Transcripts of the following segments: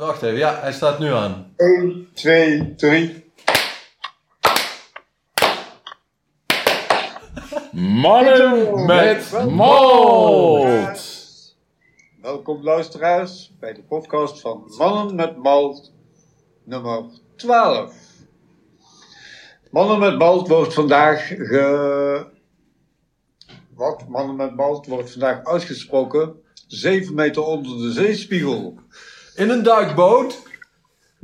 Wacht even, ja, hij staat nu aan. 1, 2, 3. Mannen met mold. Welkom luisteraars bij de podcast van Mannen met Malt nummer 12. Mannen met Malt wordt vandaag ge... Wat? Mannen met Malt wordt vandaag uitgesproken 7 meter onder de zeespiegel. In een duikboot.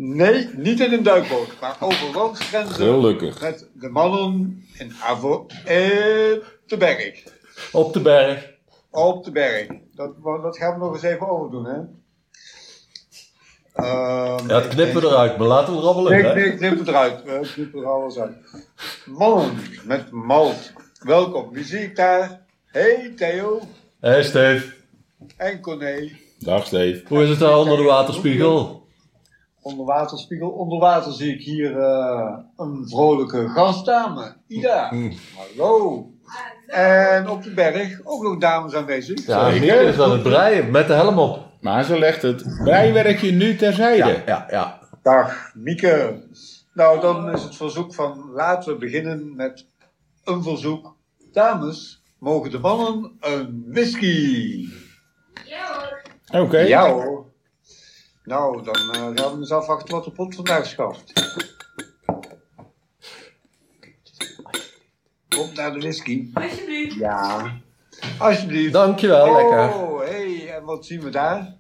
Nee, niet in een duikboot, maar over landgrenzen Gelukkig. met de mannen in Avo... Eh, de berg. Op de berg. Op de berg. Dat, dat gaan we nog eens even overdoen, hè? Ehm, Ja, dat knippen we eruit, maar laten we rabbelen. Nee, Hè? nee, knip het eruit. We knippen er alles uit. Mannen met malt. Welkom. Wie zie ik daar? Hey Theo hey, Steve, en Corné. Dag Steve. hoe is het daar onder de waterspiegel? Onderwaterspiegel. Onderwater zie ik hier eh, een vrolijke gastdame. Ida. Hallo. En op de berg ook nog dames aanwezig. Ja, Zeker. hier is aan het breien, met de helm op. Maar ze legt het breiwerkje nu terzijde. ja, ja. Dag Mieke. Nou, dan is het verzoek van laten we beginnen met een verzoek. Dames, mogen de mannen een whisky? Oké. Ja hoor. Nou, dan eh, gaan we eens afwachten wat de pot vandaag schaft. Kom naar de whisky. Alsjeblieft. Ja. Nou, Alsjeblieft. Dankjewel, lekker. Oh, hey, en wat zien we daar?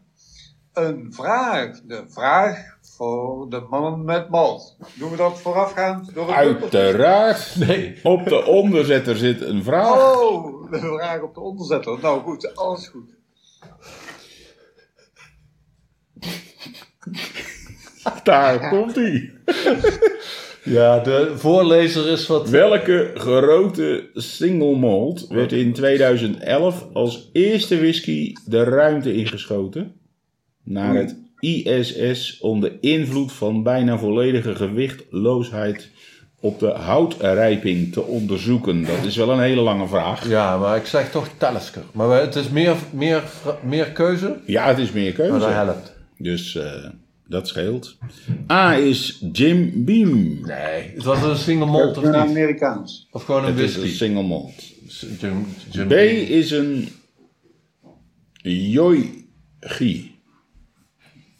Een vraag. De vraag voor de mannen met malt. Doen we dat voorafgaand door een Uiteraard. Nee, Op de onderzetter zit een vraag. Oh, de vraag op de onderzetter. Nou goed, alles goed. Daar komt hij. ja, de voorlezer is wat... Welke gerookte single malt werd in 2011 als eerste whisky de ruimte ingeschoten? Naar het ISS onder invloed van bijna volledige gewichtloosheid op de houtrijping te onderzoeken. Dat is wel een hele lange vraag. Ja, maar ik zeg toch Talisker. Maar we- het is meer, meer, vra- meer keuze, Ja, het is meer maar dat keuze. helpt. Dus eh, dat scheelt. A is Jim Beam. Nee. Het was een single malt Een of niet? Amerikaans. Of gewoon een Het is een whisky? single malt. Jim, Jim B is een yoigi.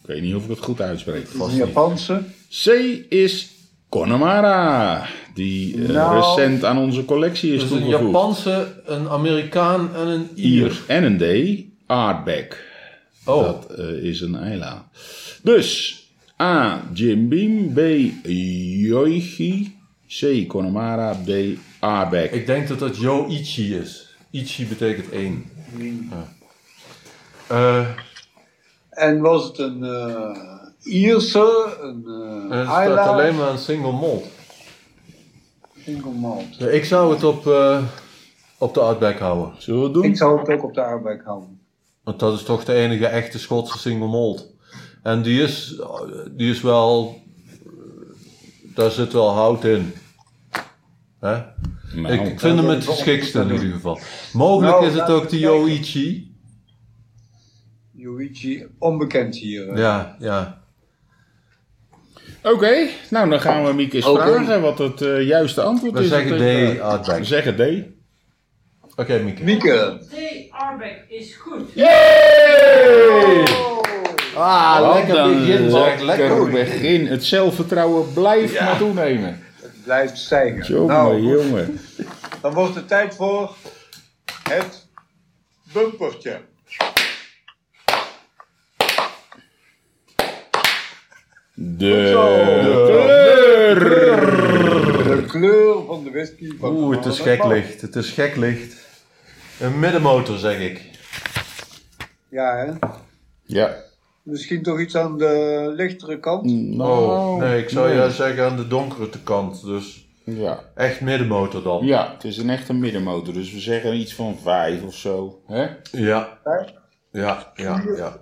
Ik weet niet of ik het goed uitspreek. Een Japanse. C is Connemara, die eh, Nou. recent aan onze collectie is Dus een toegevoegd. Japanse, een Amerikaan en een Ier. Ier en een D, Ardbeg. Oh, Dat eh, is een eila. Dus A. Jim Beam. B. Yoichi. C. Connemara. D. Aardbek. ik denk dat dat Yoichi is. Ichi betekent één. Eh, En was het een eh, Ierse, een en eh er staat Isla, alleen maar een single malt. single malt. Ik zou het op, eh, op de Outback houden. Zullen we het doen? Ik zou het ook op de arbeid houden. Want dat is toch de enige echte Schotse single malt. En die is, die is wel... Daar zit wel hout in. Hè? Nou, Ik vind hem het geschikste in ieder geval. Mogelijk Nou, is het laten we ook de kijken. Yoichi. Yuichi, onbekend hier. eh. Ja, ja. Oké. Nou, dan gaan we Mieke eens Oké. vragen wat het eh, juiste antwoord We is. zeggen Dat ik, D ah, eh, Outback. We zeggen D. Oké, Mieke. Mieke. D. Arbeck is goed. Ah, Want lekker dan begin, zeg. lekker Lekker begin. Het zelfvertrouwen blijft maar toenemen. Het blijft stijgen. Jongen, nou, goed, jongen. dan wordt het tijd voor het bumpertje. De kleur. De kleur van de whisky. van Oeh, het is Mannen gek met Malt. licht. Het is gek licht. Een middenmotor, zeg ik. Ja, hè? Ja. Misschien toch iets aan de lichtere kant? Oh, nee, ik zou Nou, nee. juist zeggen aan de donkere kant. Dus Ja. echt middenmotor dan. Ja, het is een echte middenmotor, dus we zeggen iets van vijf of zo. Hè? Ja. Ja, ja, ja.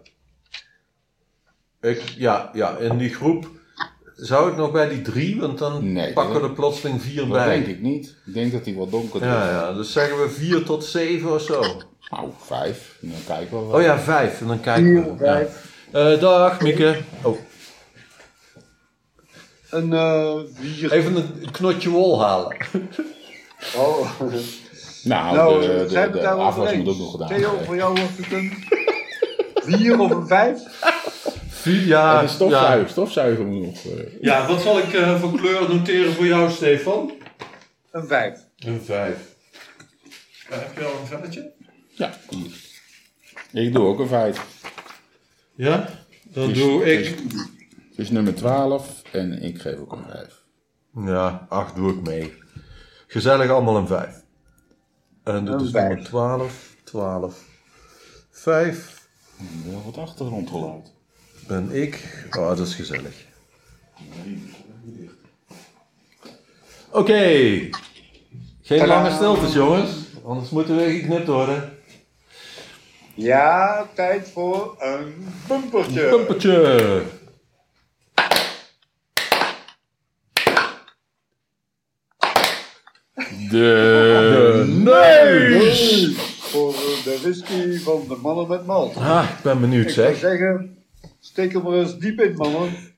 Ik, ja, ja, in die groep zou het nog bij die drie, want dan Nee, pakken dat- we er plotseling vier Dat bij. denk ik niet. Ik denk dat hij wel donker is. Ja, ja, dus zeggen we vier tot zeven of zo. Nou, vijf. Dan kijken we wel. Oh ja, vijf. En dan kijken Vier, we. Ja. vijf. Eh, dag, Mieke. Oh, Een eh bier. even een knotje wol halen. Oh. Nou, Nou, de, de, zij de, hebben daar over afwas eens. moet ook nog gedaan Theo, worden. voor jou wordt het een vier of een vijf. Vier, ja, En de stofzuiger, stofzuiger moet nog. eh, Ja. ja, wat zal ik eh, voor kleur noteren voor jou, Stefan? Een vijf. Een vijf. heb je al een velletje? ja. Ik doe ook een feit. Ja? Dan Het is- doe ik... het Het is nummer 12 en ik geef ook een 5. Ja, acht doe ik mee. Gezellig allemaal een vijf. En dat Een is vijf. nummer 12, 12, 5 Wel wat achtergrondgeluid. ben ik. Oh, dat is gezellig. Oké. Geen Tadaa. lange stiltes, jongens. Anders moeten we geknipt worden. Ja, tijd voor een bumpertje. Pumpertje. De... Neus. Voor eh, de whisky van de mannen met malt. Ah, ik ben benieuwd, Ik zou zeg. zeggen, steek hem er eens diep in, mannen.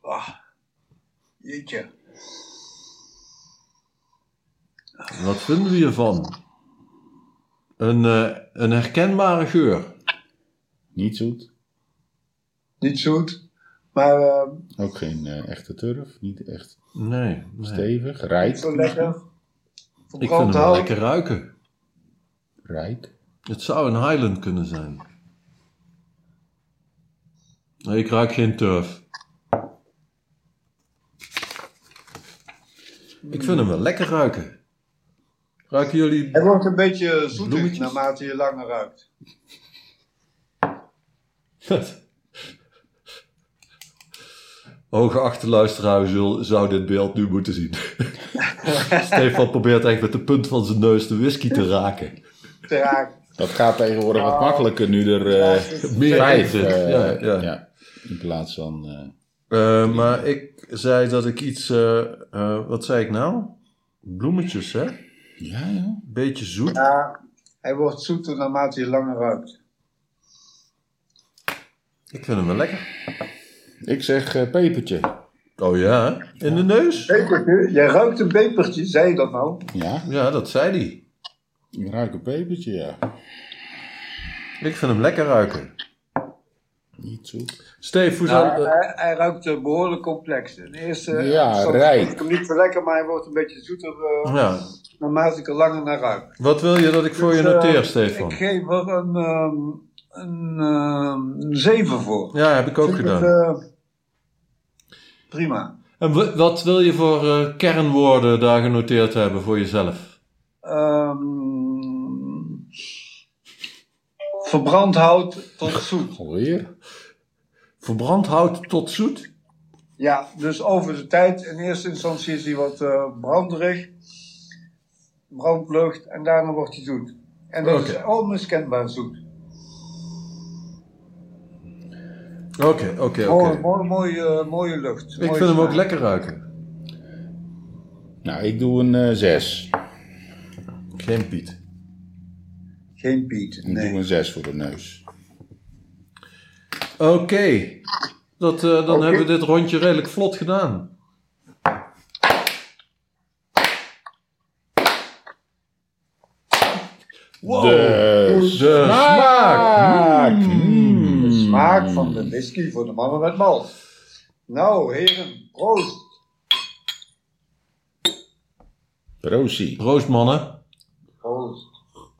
Ah, jeetje. Wat vinden we hiervan? Een, eh, een herkenbare geur. Niet zoet. Niet zoet, maar eh, Ook geen eh, echte turf. Niet echt Nee, nee. stevig. Rijk. zo lekker. ik vind Verbrand hem wel hout. lekker ruiken. Rijk. Het zou een Highland kunnen zijn. Nee, ik ruik geen turf. Ik vind hem wel lekker ruiken. Ruiken jullie Hij wordt een beetje zoetig Bloemetjes. naarmate je langer ruikt. Hooggeachte luisteraar zul- zou dit beeld nu moeten zien. Stefan probeert echt met de punt van zijn neus de whisky te raken. Te raak. Dat gaat tegenwoordig wat makkelijker nu er eh Meer vijf in zit, eh, ja, ja, ja. In plaats van... eh, Eh, maar ik zei dat ik iets. eh, eh, wat zei ik nou? Bloemetjes, hè? ja, ja. Beetje zoet. Ja, hij wordt zoeter naarmate je langer ruikt. Ik vind hem wel lekker. Ik zeg eh, pepertje. Oh ja, hè? in de neus? Pepertje? Jij ruikt een pepertje, zei je dat nou? Ja, Ja, dat zei hij. ik ruik een pepertje, ja. Ik vind hem lekker ruiken. Niet zoet. Steef, hoe Nou, zou. eh, hij, hij ruikt eh, behoorlijk complex. In eerste Ja, instantie rijk. vond Ik hem niet zo lekker, maar hij wordt een beetje zoeter eh, ja. naarmate ik er langer naar ruik. Wat wil je dat ik voor je Dus, eh, noteer, Stefan? Ik geef er een, ehm een ehm, 7 voor. Ja, heb ik ook Vind ik gedaan. het, eh, prima. En wa- wat wil je voor eh, kernwoorden daar genoteerd hebben voor jezelf? Ehm verbrand hout tot zoet. Alweer? Verbrand hout tot zoet? Ja, dus over de tijd. In eerste instantie is hij wat eh, branderig. Brandlucht. En daarna wordt hij zoet. En dat is Oké. onmiskenbaar zoet. Oké, oké, oké. Oh, Mooi, mooi, mooie, eh, mooie lucht. Ik vind hem ook lekker ruiken. Nou, ik doe een eh, zes. Geen Piet. Geen Piet. Ik doe Nee. een zes voor de neus. Oké. Dat, eh, dan Oké. hebben we dit rondje redelijk vlot gedaan. Wow. De, De smaak. Mm. Hmm. De smaak van de whisky voor de mannen met malt. Nou, heren, proost. Rosie. Proost, mannen. Proost.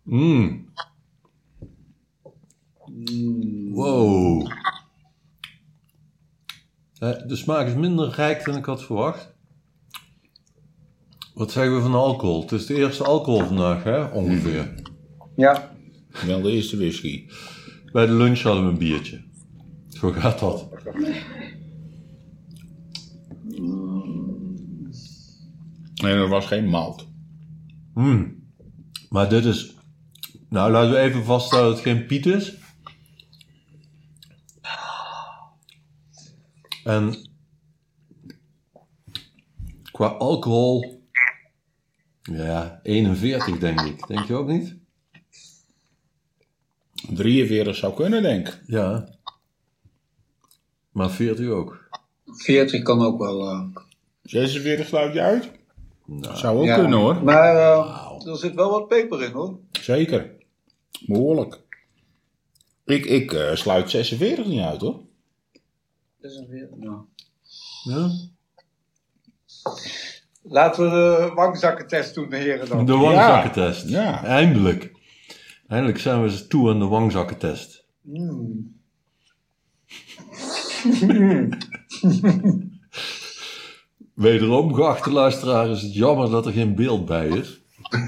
Mm. Wow. Eh, De smaak is minder rijk dan ik had verwacht. Wat zeggen we van de alcohol? Het is de eerste alcohol vandaag, hè? Ongeveer. Ja, Wel de eerste whisky. Bij de lunch hadden we een biertje. Zo gaat dat. En er was geen malt. Mm. Maar dit is... Nou, laten we even vaststellen dat het geen Piet is. En... Qua alcohol... Ja, 41 denk ik. Denk je ook niet? 43 zou kunnen, denk ik. Ja. Maar 40 ook. 40 kan ook wel. eh, 46 sluit je uit? Zou ook Nou, ja. kunnen hoor. Maar eh, er zit wel wat peper in hoor. Zeker. Behoorlijk. Ik, ik eh, sluit 46 niet uit hoor. Dat is een weer- ja. Ja. Laten we de wangzakkentest doen, de heren dan. De wangzakkentest. Ja. Eindelijk. Eindelijk zijn we eens toe aan de wangzakkentest. Mm. Wederom, geachte luisteraar, is het jammer dat er geen beeld bij is.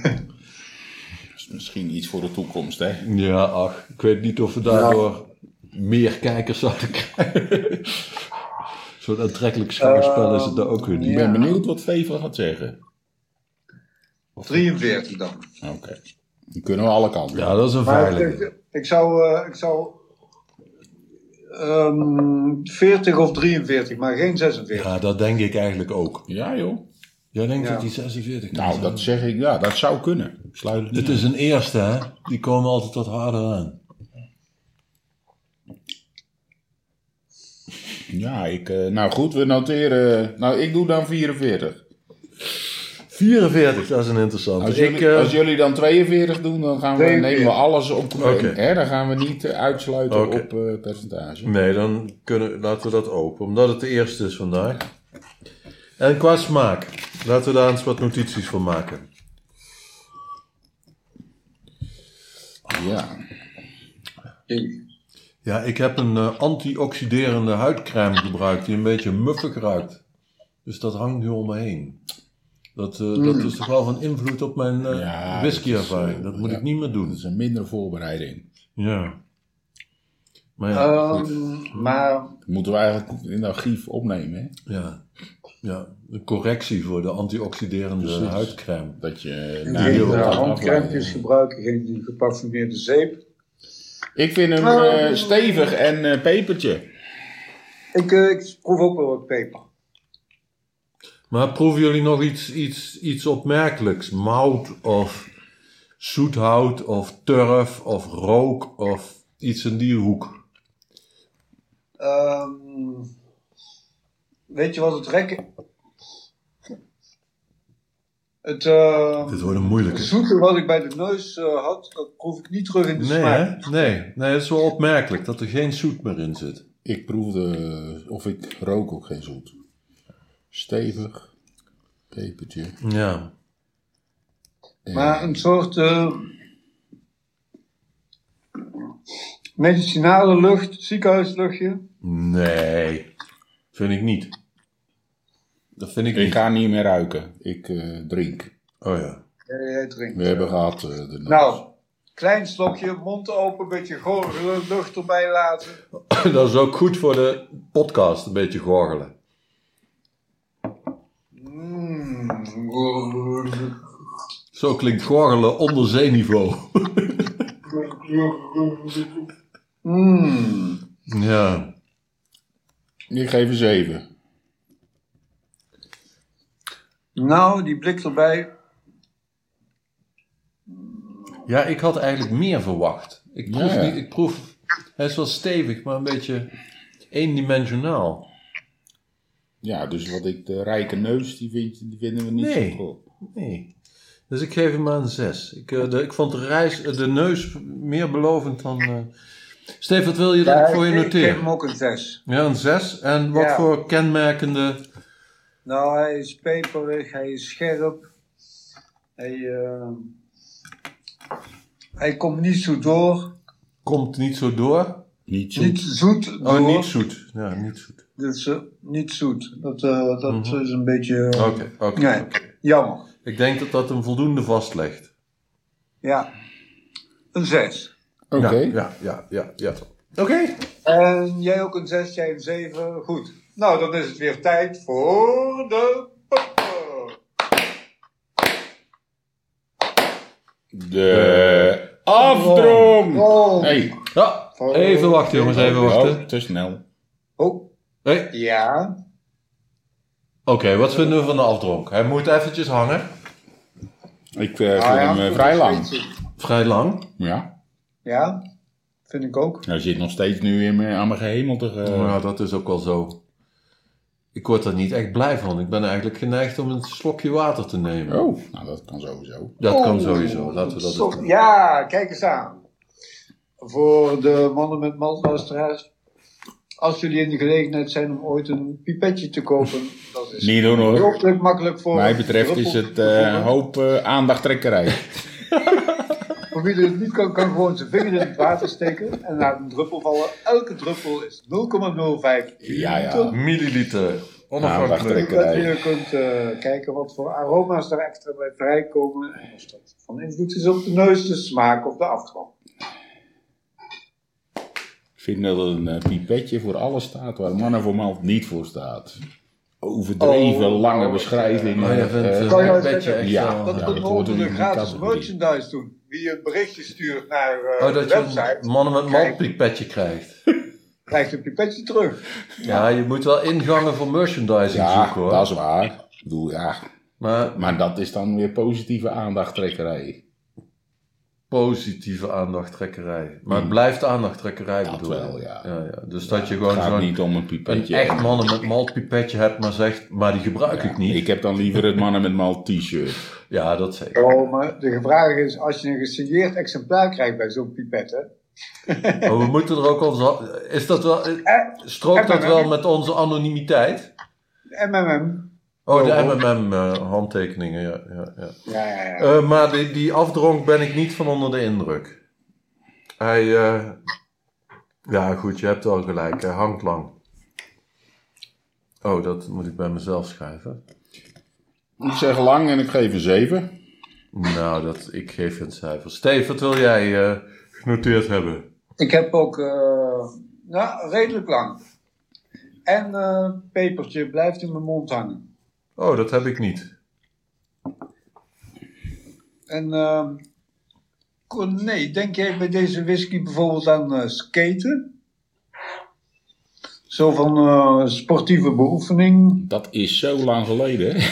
Dat is misschien iets voor de toekomst hè. Ja, ach, ik weet niet of we daardoor meer kijkers zouden krijgen. Zo'n aantrekkelijk schouwspel is het daar ook weer Ik niet. ben Ja. benieuwd wat Fever gaat zeggen. 43 dan. Oké. Dan kunnen we alle kanten. Ja, dat is een Maar veilige. ik, ik zou, eh, ik zou ehm, 40 of 43, maar geen 46. Ja, dat denk ik eigenlijk ook. Ja joh. Jij denkt Ja. dat die 46 kan Nou, zijn? dat zeg ik. Ja, dat zou kunnen. Ik Sluit het niet Het is een eerste, hè? Die komen altijd wat harder aan. Ja, ik, eh, nou goed, we noteren. Nou, ik doe dan 44. 44, dat is een interessante. Als, jullie, ik, eh, als jullie dan 42 doen, dan gaan we, 42. nemen we alles op. Oké. Hè, dan gaan we niet eh, uitsluiten Oké. op eh, percentage. Nee, dan kunnen, laten we dat open, omdat het de eerste is vandaag. En qua smaak, laten we daar eens wat notities van maken. Ja. Ja, ik heb een eh, antioxiderende huidcrème gebruikt die een beetje muffig ruikt. Dus dat hangt nu om me heen. Dat, eh, dat is toch wel van invloed op mijn eh Ja, dat is, whiskyervaring. eh, Dat moet ja. ik niet meer Dat doen. is een mindere voorbereiding. Ja. Maar ja, Ehm, goed. maar Dat moeten we eigenlijk in het archief opnemen. Hè? Ja. ja, een correctie voor de antioxiderende huidcrème. Dat je na geen heel eh, wat handcrèmpjes afleiding- gebruiken, geen geparfumeerde zeep. Ik vind hem Oh. eh, stevig en eh, pepertje. Ik, eh, ik proef ook wel wat peper. Maar proeven jullie nog iets, iets, iets opmerkelijks? Mout of zoethout of turf of rook of iets in die hoek? Ehm, weet je wat het rekken? Het eh, Dit wordt een moeilijke. zoete wat ik bij de neus eh, had, dat proef ik niet terug in de Nee, smaak. hè? Nee, nee, het is wel opmerkelijk dat er geen zoet meer in zit. Ik proefde, eh, of ik rook ook geen zoet. Stevig, pepertje. Ja. en- Maar een soort eh, medicinale lucht, ziekenhuisluchtje. Nee, vind ik niet. Dat vind ik Ik niet. ga niet meer ruiken. Ik eh, drink. Oh ja. Eh, jij drinkt. We hebben gehad eh, de nacht. Nou, klein slokje, mond open, een beetje gorgelen, lucht erbij laten. Dat is ook goed voor de podcast, een beetje gorgelen. Mm. Zo klinkt gorgelen onder zeeniveau. Mm. Ja. Ik geef een 7. Nou, die blik erbij. Ja, ik had eigenlijk meer verwacht. Ik proef, Ja. Niet, ik proef hij is wel stevig, maar een beetje eendimensionaal. Ja, dus wat ik, de rijke neus, die, vind, je- die vinden we niet Nee. zo goed. Nee. Dus ik geef hem maar een 6. Ik, eh, de, ik vond de, reis, eh, de neus meer belovend dan. eh Steef, wat wil je dat ik voor je ik- Ik geef noteren? hem ook een 6. Ja, een 6. En wat Ja. voor kenmerkende. Nou, hij is peperig, hij is scherp. Hij, eh, hij komt niet zo door. Komt niet zo door? Niet zo. Niet zoet door. Oh, niet zoet. Ja, niet zoet. Dus eh, niet zoet. Dat, eh, dat Mhm. is een beetje eh, Oké, oké. Nee. oké. jammer. Ik denk dat dat hem voldoende vastlegt. Ja. Een 6. Oké. Ja, ja, ja, ja. ja. Oké. En jij ook een 6, jij een 7. Goed. Nou, dan is het weer tijd voor de popcorn. De afdrom. Oh. Hey. Ja, Oh. even wachten jongens, even wachten. Oh, te snel. Oh, Hey, ja. Oké, wat vinden we van de afdronk? Hij moet eventjes hangen. Ah, eh, Ik eh, vond hem eh, vrij lang. Vrij lang. Ja. Ja. Vind ik ook. Hij zit nog steeds nu in mijn, aan mijn gehemelte. ge- Ja, dat is ook wel zo. Ik word er niet echt blij van. Ik ben eigenlijk geneigd om een slokje water te nemen. Oh, nou dat kan sowieso. Dat kan Oh, sowieso. Laten we dat zo- eens doen. Ja, kijk eens aan. Voor de mannen met maltluisteraars. Als jullie in de gelegenheid zijn om ooit een pipetje te kopen, dat is Niet doen hoor. heel makkelijk voor. Mij betreft is het eh hoop eh, aandachttrekkerij. Voor wie het niet kan, kan gewoon zijn vinger in het water steken en laat een druppel vallen. Elke druppel is 0,05 Ja, ja. liter. Nou, Milliliter. Aandacht, Onafhankelijk. ik. Dat je kunt eh, kijken wat voor aroma's er extra bij vrijkomen. En of dat van invloed is op de neus, de smaak of de aftrap. Ik vind dat een eh, pipetje voor alles staat waar mannen voor malt niet voor staat. Overdreven Oh, lange oh, beschrijvingen. Maar jij vindt eh, eh, kan je een beetje zeggen, extra... Dat ja, ja. kunt dat we hoort onder er de in die gratis categorie. merchandise doen. Wie een berichtje stuurt naar eh, Oh, de dat je website, mannen met Kijk. malpipetje krijgt. krijgt een pipetje terug. Ja, je moet wel ingangen voor merchandising ja, zoeken hoor. dat is waar. Ik bedoel, ja. Maar Maar dat is dan weer positieve aandachttrekkerij. positieve aandachttrekkerij. Maar het Hmm. blijft aandachttrekkerij Dat bedoel je? wel, ja. ja, Dus dat je Het gewoon gaat zo'n niet om een een pipetje. echt mannen met malpipetje hebt, maar zegt, maar die gebruik Ja, ik niet. Ik heb dan liever het mannen met malt t-shirt. Ja, dat zeker. Oh, maar de vraag is, als je een gesigneerd exemplaar krijgt bij zo'n pipette, Maar we moeten er ook ons... Is dat wel... Strookt dat wel met onze anonimiteit? MMM. Oh, de Oh, oh. MMM-handtekeningen, ja. ja, ja. Ja, ja, ja. Eh, maar die, die afdronk ben ik niet van onder de indruk. Hij... eh, Ja, goed, je hebt wel gelijk. Hij hangt lang. Oh, dat moet ik bij mezelf schrijven. Ik zeg lang en ik geef een 7. Nou, dat, ik geef je een cijfer. Steve, wat wil jij eh, genoteerd hebben? Ik heb ook eh, nou, redelijk lang. En eh pepertje blijft in mijn mond hangen. Oh, dat heb ik niet. En ehm, kon- nee, denk jij bij deze whisky bijvoorbeeld aan eh, skaten? Zo van eh, sportieve beoefening. Dat is zo lang geleden. hè?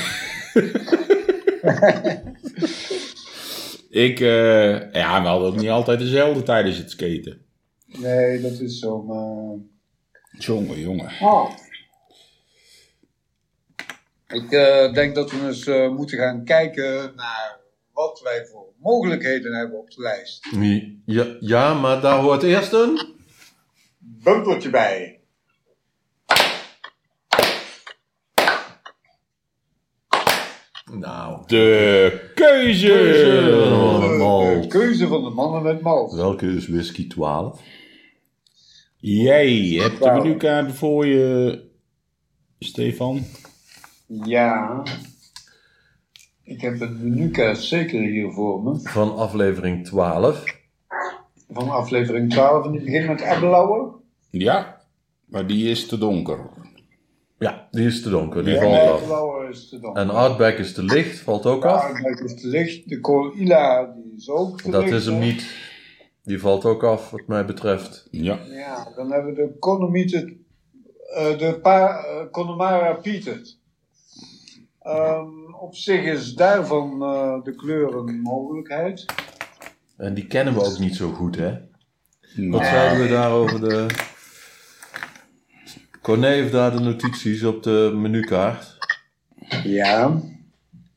ik, eh, ja, we hadden ook niet altijd dezelfde tijdens het skaten. Nee, dat is zo. eh, Maar... Jongen, jongen. Ik eh, denk dat we eens eh, moeten gaan kijken naar wat wij voor mogelijkheden hebben op de lijst. Nee. Ja, ja, maar daar hoort eerst een... Bumpertje bij. Nou, De keuze! Keuze. Van de De, malt. keuze van de mannen met malt. Welke is whisky 12? Jij hebt de Wauw. menukaart voor je, Stefan. Ja. Ik heb een menukaart zeker hier voor me. Van aflevering 12. Van aflevering 12. En die begint met Abelauer. Ja, maar die is te donker. Ja, die is te donker. Die Ja, valt nee, af. Abelauer is te dan. En Outback is te licht, valt ook af. Aardbeid is te licht. De Corilla die is ook te Dat licht, is hem hè? niet. Die valt ook af, wat mij betreft. Ja. Ja, dan hebben we de Connemieted, eh, de pa, eh, Connemara Pieted. Ehm, op zich is daarvan eh, de kleur een mogelijkheid. En die kennen we ook niet zo goed, hè? Wat Nou, zouden we daar over de... Corné heeft daar de notities op de menukaart. Ja.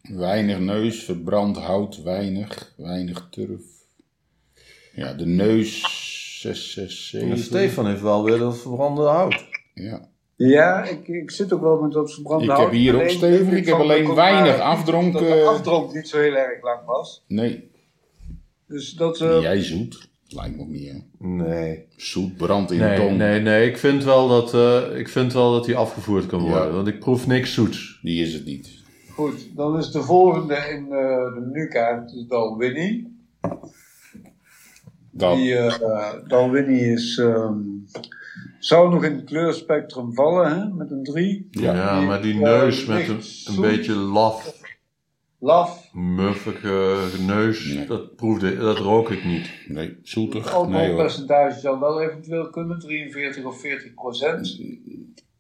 weinig neus, verbrand hout, weinig, weinig turf. Ja, de neus 667. En Stefan heeft wel weer dat verbrande hout. Ja. Ja, ik, ik zit ook wel met dat verbrande Ik heb hout. hier ook Alleen stevig, weet ik heb van de alleen Connemara weinig Pieted afdronk, Dat de eh. afdronk niet zo heel erg lang was. Nee, Dus dat... eh, jij zoet. Lijkt me ook niet, hè? Nee. Zoet, brand in de Nee, tong. nee, nee. Ik vind wel dat, eh, ik vind wel dat die afgevoerd kan worden. Ja. Want ik proef niks zoets. Die is het niet. Goed, dan is de volgende in eh, de menukaart dan Winnie. Dat, Die eh Dalwinnie is, ehm, zou nog in het kleurspectrum vallen, hè? met een 3. Ja, Ja. maar die eh, neus met licht een, een zoet, beetje laf Laf, muffige neus, Nee. dat proefde, dat rook ik niet. nee, Oh, zoetig. Nee hoor. alcoholpercentage zou wel eventueel kunnen, 43 of 40 procent.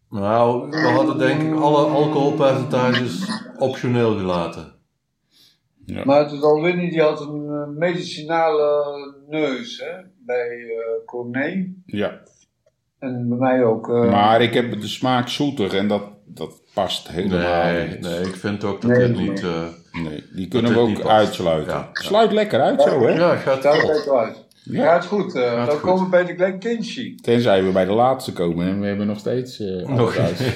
Nou, we hadden denk ik alle alcoholpercentages optioneel gelaten. Ja. Maar de Dolini die had een eh, medicinale neus hè? bij eh Corné. Ja. En bij mij ook. eh, Maar ik heb de smaak zoeter en dat, dat past helemaal Nee, niet. nee, ik vind ook dat Nee, dit nee. niet... eh, Nee, die kunnen we Dat dit ook niet past. uitsluiten. Ja. Sluit lekker uit zo, hè? ja, gaat Daar wel. kijkt wel uit. Ja. Gaat goed. eh, Gaat dan goed. komen we bij de Glen Kinchy. Tenzij we bij de laatste komen en we hebben nog steeds eh Nog nog uit.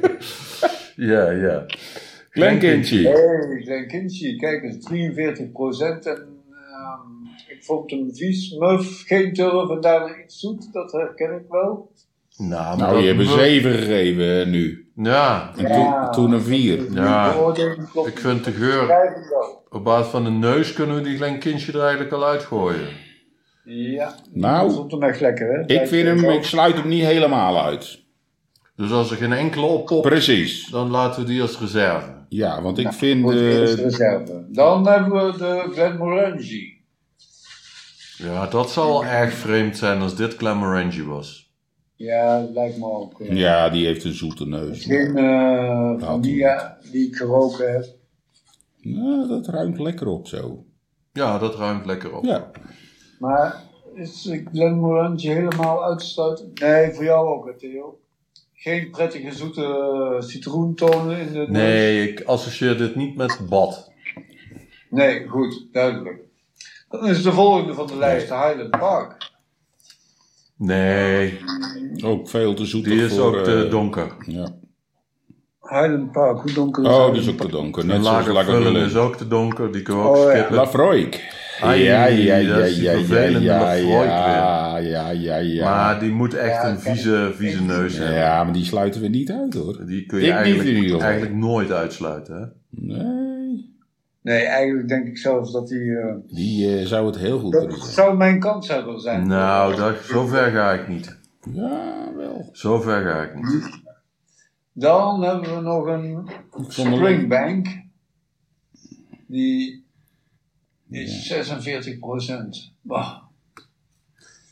ja, ja. Klenkindje. Hey, Glen Kinchy, kijk eens, 43 En ehm, ik vond hem vies, muf, geen turf en daarna iets zoet. Dat herken ik wel. Nou, maar Nou, je dat- hebt een 7 gegeven nu. Ja, En Ja. toen, toen een Dus 4. Ja. Die beoordeling klopt ik niet. vind de geur... Schrijf hem wel. Op basis van de neus kunnen we die klein kindje er eigenlijk al uitgooien. Ja, dat Nou, vond hem echt lekker, hè? ik vind hem, ik sluit hem niet helemaal uit. Dus als er geen enkele oppopt, Precies. dan laten we die als reserve. Ja, want ik vind... Voor de eh, eerste reserve. Dan hebben we de Glenmorangie. Ja, dat zal erg vreemd zijn als dit Clamorangie was. Ja, dat lijkt me ook. eh. ja, die heeft een zoete neus. Geen eh Ja, van die, ja, die ik geroken heb. Nou, dat ruimt lekker op zo. Ja, dat ruimt lekker op. Ja. Maar is de Glenmorangie helemaal uitsluitend? Nee, voor jou ook, hè, Theo. Geen prettige zoete eh, citroentonen in de neus? Nee, ik associeer dit niet met bad. Nee, goed, duidelijk. Dan is de volgende van de lijst de Highland Park. Nee, Ook veel te zoeter die is voor, ook te eh, donker. ja. Highland Park, hoe donker is Oh, Highland die is ook Park? te donker. Een Net zoals lager vullen is Lagavulin. ook te donker, die kunnen we ook Oh, ja. skippen. Lafroik. Ja, Ai, ja, ja, ja, dat is die ja, vervelende ja, Lafroik ja, ja, ja, ja. Maar die moet echt Ja, een ik- vieze, vieze neus hebben. Ja, maar die sluiten we niet uit hoor. Die kun Ik je niet in ieder eigenlijk, geval. eigenlijk nooit uitsluiten. Hè? Nee. Nee, eigenlijk denk ik zelfs dat die... eh, Die eh, zou het heel goed kunnen dat doen. zou mijn kans hebben zijn. Nou, dat, zover ga ik niet. Ja, wel. Zover ga ik niet. Dan hebben we nog een vond hem- Springbank. Die is 46 procent.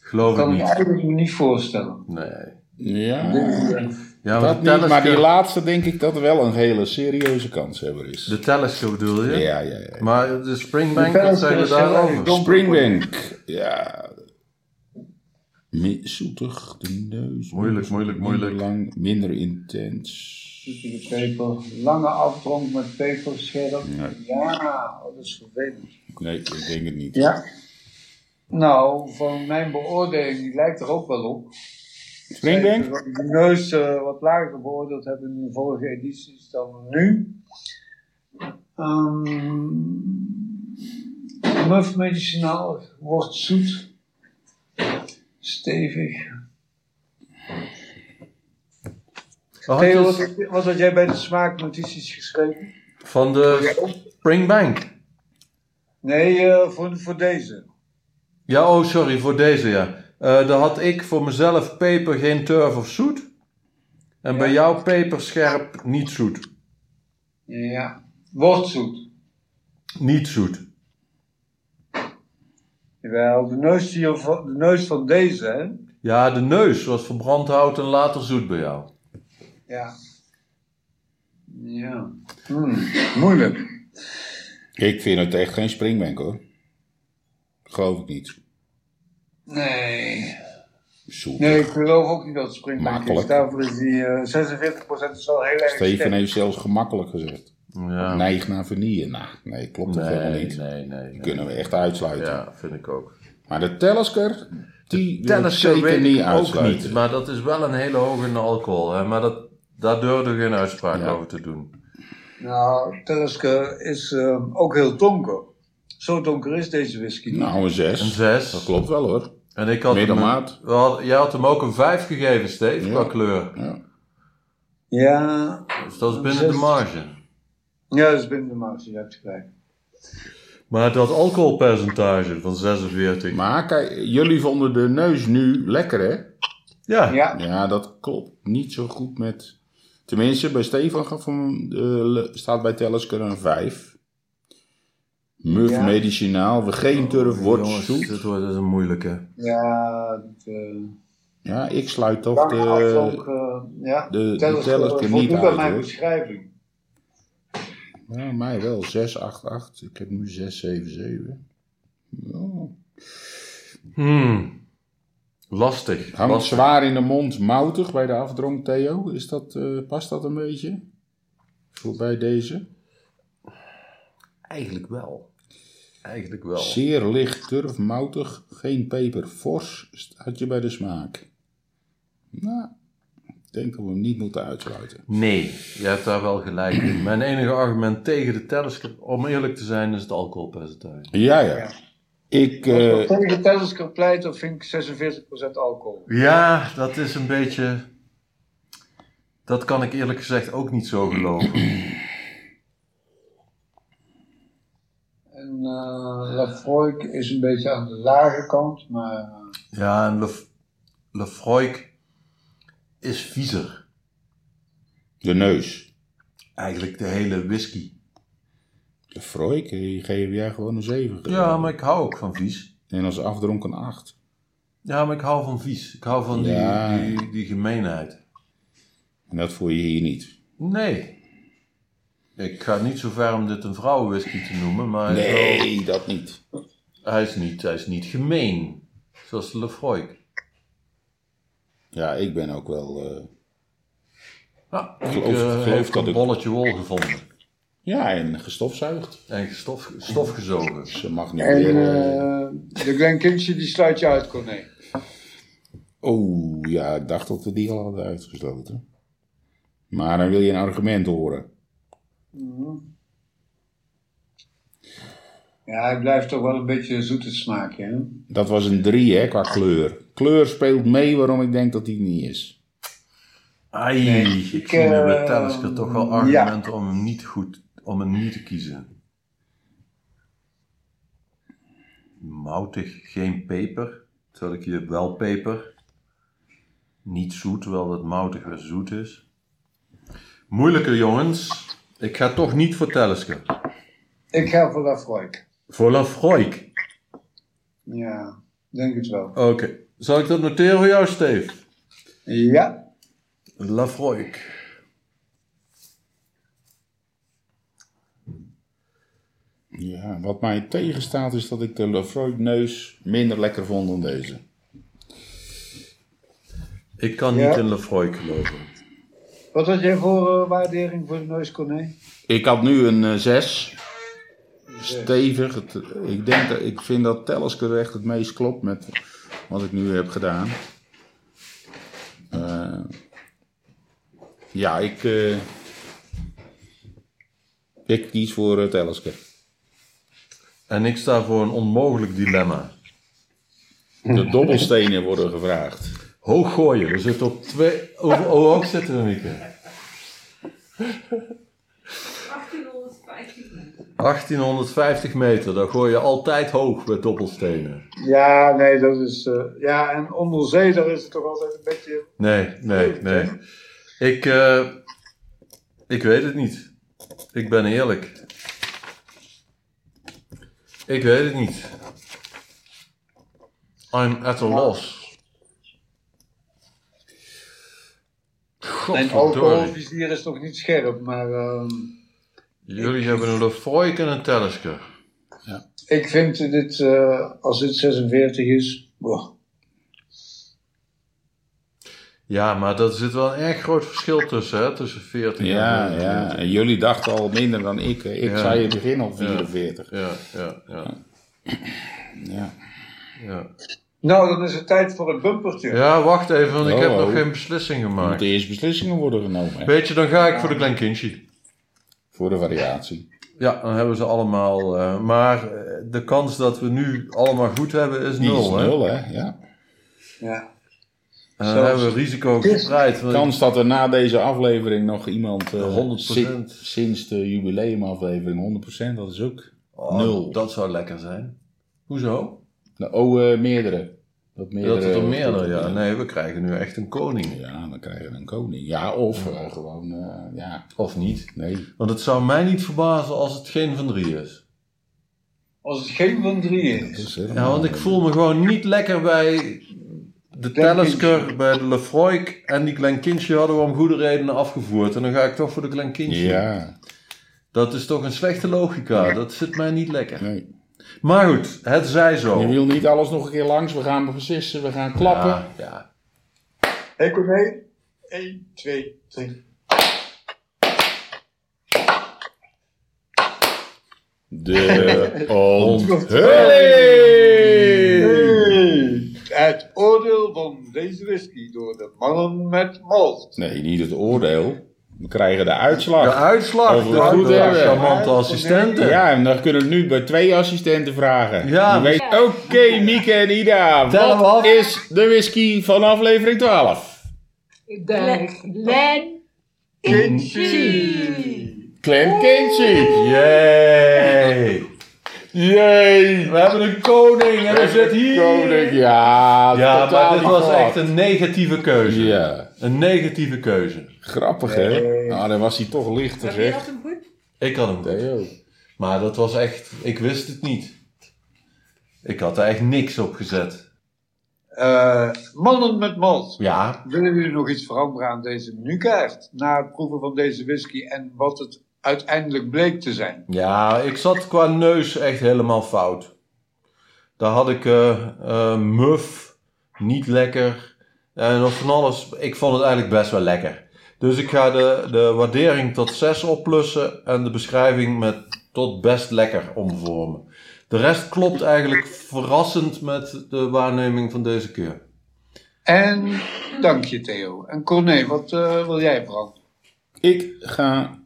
Geloof ik kan ik niet. eigenlijk me niet voorstellen. Nee. Ja, Ja, maar dat de niet, maar die telescope- laatste denk ik dat wel een hele serieuze kanshebber is. De telescope bedoel je? Ja, ja, ja. Maar de springbank, De wat zijn we telescope is heel erg daarover? dom. Springbank. Ja. Mi- Zoetig, de neus. Moeilijk, moeilijk, minder moeilijk. lang, minder intens. Zoetige peper, lange afdronk met peperscherp. Ja, oh, dat is vervelend. Nee, ik denk het niet. Ja. Nou, van mijn beoordeling die lijkt er ook wel op. Springbank? De neus eh, wat lager beoordeeld heb in de vorige edities dan nu. Ehm muf medicinaal wordt zoet, stevig. Had Theo, je wat, wat had jij bij de smaaknotities geschreven? Van de springbank. Nee, eh, voor, voor deze. Ja, oh sorry, voor deze ja. Eh daar had ik voor mezelf peper, geen turf of zoet. En bij jou peper, scherp, niet zoet. Ja. Wordt zoet. Niet zoet. Jawel, de neus, hier, van- de neus van deze, hè? Ja, de neus was verbrand hout en later zoet bij jou. Ja. Ja. Hmm, moeilijk. Ik vind het echt geen springbank hoor. Geloof ik niet. Nee. Zoet. Nee, ik geloof ook niet dat het springbank is. Makkelijk. Daarvoor is die eh 46% is wel heel erg Steven sterk. heeft zelfs gemakkelijk gezegd. Ja. Neig naar vernieuwen. Nou, nee, klopt dat helemaal nee, niet. nee, nee. Die nee. kunnen we echt uitsluiten. Ja, vind ik ook. Maar de Telsker, die wil ik Tennis weet zeker ik niet ook uitsluiten. niet, maar dat is wel een hele hoge in alcohol. Hè? Maar dat, daar durfde geen uitspraak Ja. over te doen. Nou, Teleske is eh, ook heel donker. Zo donker is deze whisky. niet. Nou, een 6. Een zes. Dat klopt wel hoor. En ik had hem, Middelmaat. een- we hadden- jij had hem ook een 5 gegeven, Steve, Ja. qua kleur. Ja. Ja, Dus dat is Een binnen de zes. marge. ja, dat is binnen de marge, je hebt gelijk. Maar dat alcoholpercentage van 46. Maar kijk, jullie vonden de neus nu lekker hè? ja. Ja, Ja, dat klopt niet zo goed met. Tenminste, bij Stefan gaf hem, eh, le- staat bij Telesker een 5. Muf Ja. Oh, medicinaal, we geen turf, wordt Jongens, zoet. dit wordt dit is een moeilijke. Ja, dat, eh, Ja, ik sluit toch lange afdronk, de, eh, ja, de, de tellers, eh, Tellersker niet voldoet aan uit. mijn Hoor. beschrijving. Ja, mij wel. 688. Ik heb nu 677. Ja. Hmm. Lastig. Hangt Lastig. zwaar in de mond, moutig bij de afdronk, Theo. Is dat, eh, past dat een beetje? Voor bij deze? Eigenlijk wel. Eigenlijk wel. Zeer licht, turf, moutig, geen peper, fors had je bij de smaak. Nou, ik denk dat we hem niet moeten uitsluiten. Nee, je hebt daar wel gelijk in. Mijn enige argument tegen de telescoop, om eerlijk te zijn, is het alcoholpercentage. Ja, ja. Ik, eh, Als ik tegen Tessels kan pleiten, vind ik 46% alcohol. Ja, dat is een beetje. Dat kan ik eerlijk gezegd ook niet zo geloven. En eh Lafroik is een beetje aan de lage kant, maar eh, Ja, en Lef- Lefroy is viezer. de neus. Eigenlijk de hele whisky. De Froik, die geef jij gewoon een 7. Ja, maar ik hou ook van vies. En als afdronk een 8. Ja, maar ik hou van vies. Ik hou van die, Ja. die, die gemeenheid. En dat voel je hier niet. Nee. Ik ga niet zo ver om dit een vrouwenwhisky te noemen, maar hij is wel- Nee, dat niet. hij, is niet, hij is niet gemeen. Zoals de Lefroy. Ja, ik ben ook wel... eh, Nou, ik Geloof- eh, geloof heb dat een ik- bolletje wol gevonden. ja, en gestofzuigd. En stof, stof gezogen. Ze mag niet En meer... eh, eh de Glen Kinsey, die sluit je uit, Corné. Oh, ja, ik dacht dat we die al hadden uitgesloten. Maar dan wil je een argument horen. Ja, hij blijft toch wel een beetje een zoete smaakje, hè? Dat was een 3, hè, qua kleur. Kleur speelt mee waarom ik denk dat die niet is. Ai, Nee, ik, ik, zie nu bij eh, Telescope toch wel ja. argumenten om hem niet goed, om hem niet te kiezen. Moutig, geen peper. Terwijl ik hier wel peper. Niet zoet, terwijl dat moutig weer zoet is. Moeilijker jongens. Ik ga toch niet voor Telescope. Ik ga voor Lafroik. Voor Lafroik. Ja, denk het wel. Oké. Zal ik dat noteren voor jou, Steve? Ja, Lafroik. Ja, wat mij tegenstaat is dat ik de Lefroy neus minder lekker vond dan deze. Ik kan Ja. niet in Lafroik geloven. wat had jij voor eh, waardering voor de neus, Corné? Ik had nu een 6. Stevig. Het- eh, ik, denk dat, ik vind dat Telescope echt het meest klopt met wat ik nu heb gedaan. Eh, ja, ik, eh, ik kies voor uh, Telescope. En ik sta voor een onmogelijk dilemma. De dobbelstenen worden gevraagd. Hoog gooien. We zitten op twee... Hoe, hoe hoog zitten we, Mieke? 1850 mensen. 1850 meter. Daar gooi je altijd hoog bij dobbelstenen. Ja, nee, dat is... eh, ja, en onder zee, daar is het toch altijd een beetje... Nee, nee, nee. Ik, eh, ik weet het niet. Ik ben eerlijk. Ik weet het niet. I'm at a loss. Mijn Godverdorie. alcoholvizier is toch niet scherp, maar... ehm, Jullie hebben een Lefroy en een Telesker. ik vind dit, eh, als dit 46 is... boah. Ja, maar daar zit wel een erg groot verschil tussen, hè? Tussen 40 Ja, en 40. ja. En jullie dachten al minder dan ik. hè. Ik Ja. zei in het begin al 44. Ja, ja, ja. Ja. Ja, Nou, dan is het tijd voor het bumpertje. ja wacht even, want ik Oh, heb oh. nog geen beslissing Er moeten gemaakt. eerst beslissingen worden genomen hè, Weet je, dan ga ik voor de Glen Kinchy. voor de variatie. Ja, dan hebben ze allemaal. eh, maar eh, de kans dat we nu allemaal goed hebben is Die is nul. Hè? nul, hè? Ja. Ja. En dan Zelfs- hebben we risico gespreid. want- Kans dat er na deze aflevering nog iemand. eh, 100%. si- Sinds de jubileumaflevering 100%, dat is ook. Oh, nul. Dat zou lekker zijn. Hoezo? Nou, oh, eh, meerdere. Dat, meerdere. dat het er meerdere, ja. Nee, we krijgen nu echt een koning. Ja, dan krijgen we een koning. Ja, of eh, gewoon. eh, ja, Of niet? nee. Want het zou mij niet verbazen als het geen van drie is. Als het geen van drie is... Dat is helemaal- Ja, want ik voel me gewoon niet lekker bij de Talisker, bij de Lefroy en die Glenkinsje hadden we om goede redenen afgevoerd. En dan ga ik toch voor de Glenkinsje. Ja, Dat is toch een slechte logica. Dat zit mij niet lekker. Nee. Maar goed, het zij zo. Je wil niet alles nog een keer langs. We gaan beslissen, we gaan klappen. Ja, ja. Hé, kom mee. 1, 2, 3. De onthulling! Hey. Het oordeel van deze whisky door de mannen met malt. Nee, niet het oordeel. We krijgen de uitslag. De uitslag. Of we De goed uitslag. hebben. Charmante assistenten. Ja, en dan kunnen we het nu bij twee assistenten vragen. Ja. Die weten- Oké, Mieke en Ida. Tellen we Wat af. is de whisky van aflevering 12? Ik denk Len. Kinsie. Clem Kinsey. Yay. Jee. We hebben een koning en hij zit hier. Koning, ja. Ja, totaal maar dit niet was echt verwacht. een negatieve keuze. Ja, Een negatieve keuze. grappig hè? Nou, dan was hij toch lichter Heb je dat zeg. hem goed? Ik had hem. Theo. Maar dat was echt, ik wist het niet. Ik had er echt niks op gezet. Eh, mannen met malt. Ja, Willen jullie nog iets veranderen aan deze menukaart? Na het proeven van deze whisky en wat het uiteindelijk bleek te zijn. ja, ik zat qua neus echt helemaal fout. Daar had ik eh, eh, muf, niet lekker en nog van alles. Ik vond het eigenlijk best wel lekker. Dus ik ga de, de waardering tot 6 opplussen en de beschrijving met tot best lekker omvormen. De rest klopt eigenlijk verrassend met de waarneming van deze keer. En dank je Theo. En Corné, wat eh, wil jij veranderen? Ik ga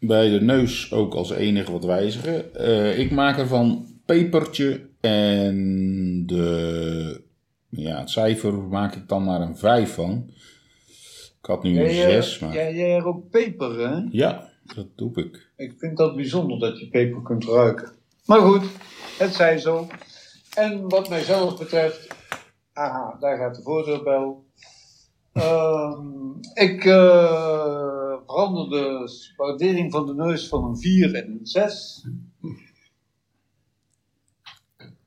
bij de neus ook als enige wat wijzigen. Eh, ik maak ervan pepertje en de, ja, het cijfer maak ik dan naar een 5 van. Ik had nu een Jij, eh, 6, maar Jij, jij rookt peper hè? ja, dat doe ik. Ik vind dat bijzonder dat je peper kunt ruiken. Maar goed, het zij zo. En wat mijzelf betreft, aha, daar gaat de voordeelbel. Ehm, ik eh verander de waardering van de neus van een 4 en een 6.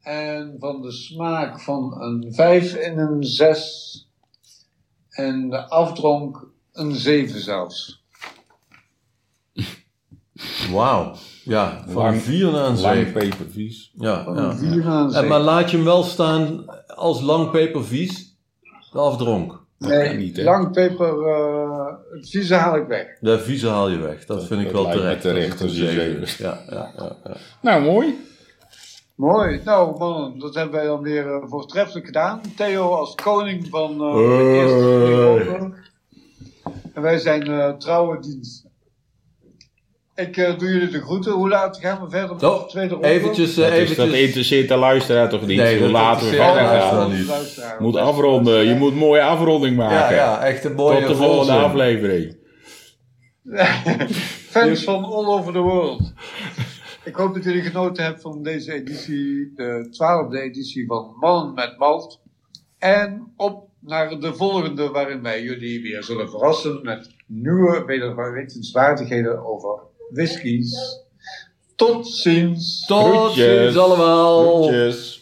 En van de smaak van een 5 en een 6. En de afdronk een 7 zelfs. Wauw. Ja, van Lang- 4 naar een Lang 7. pepervies. Ja, Van ja. een 4 naar een 7. En, maar laat je hem wel staan als lang pepervies, de afdronk. Dat kan niet, hè? langpeper, eh, het vieze haal ik weg. De vieze haal je weg. Dat vind ik dat wel lijkt me terecht. terecht, Dat is als je een zeven. Ja, ja, ja, ja. Nou, mooi. Mooi. Nou, mannen, dat hebben wij dan weer eh, voortreffelijk gedaan. Theo als koning van eh, de Hey. eerste periode. En wij zijn eh, trouwe dienst. Ik eh, doe jullie de groeten. Hoe laat gaan we verder met Zo, de tweede ronde? eventjes, eh, Dat, is, dat eventjes. interesseert de luisteraar toch niet? Nee, Hoe dat laten we interesseert verder de luisteraar niet. gaan? Je moet afronden. Je moet een mooie afronding Ja, maken. ja, echt een mooie Ah, Tot de volgende voorzin. aflevering. Fans van all over the world. Ik hoop dat jullie genoten hebben van deze editie, de twaalfde editie van Man met Malt. En op naar de volgende, waarin wij jullie weer zullen verrassen met nieuwe wetenswaardigheden over whiskies. Tot ziens. Tot Groetjes. ziens allemaal. Groetjes.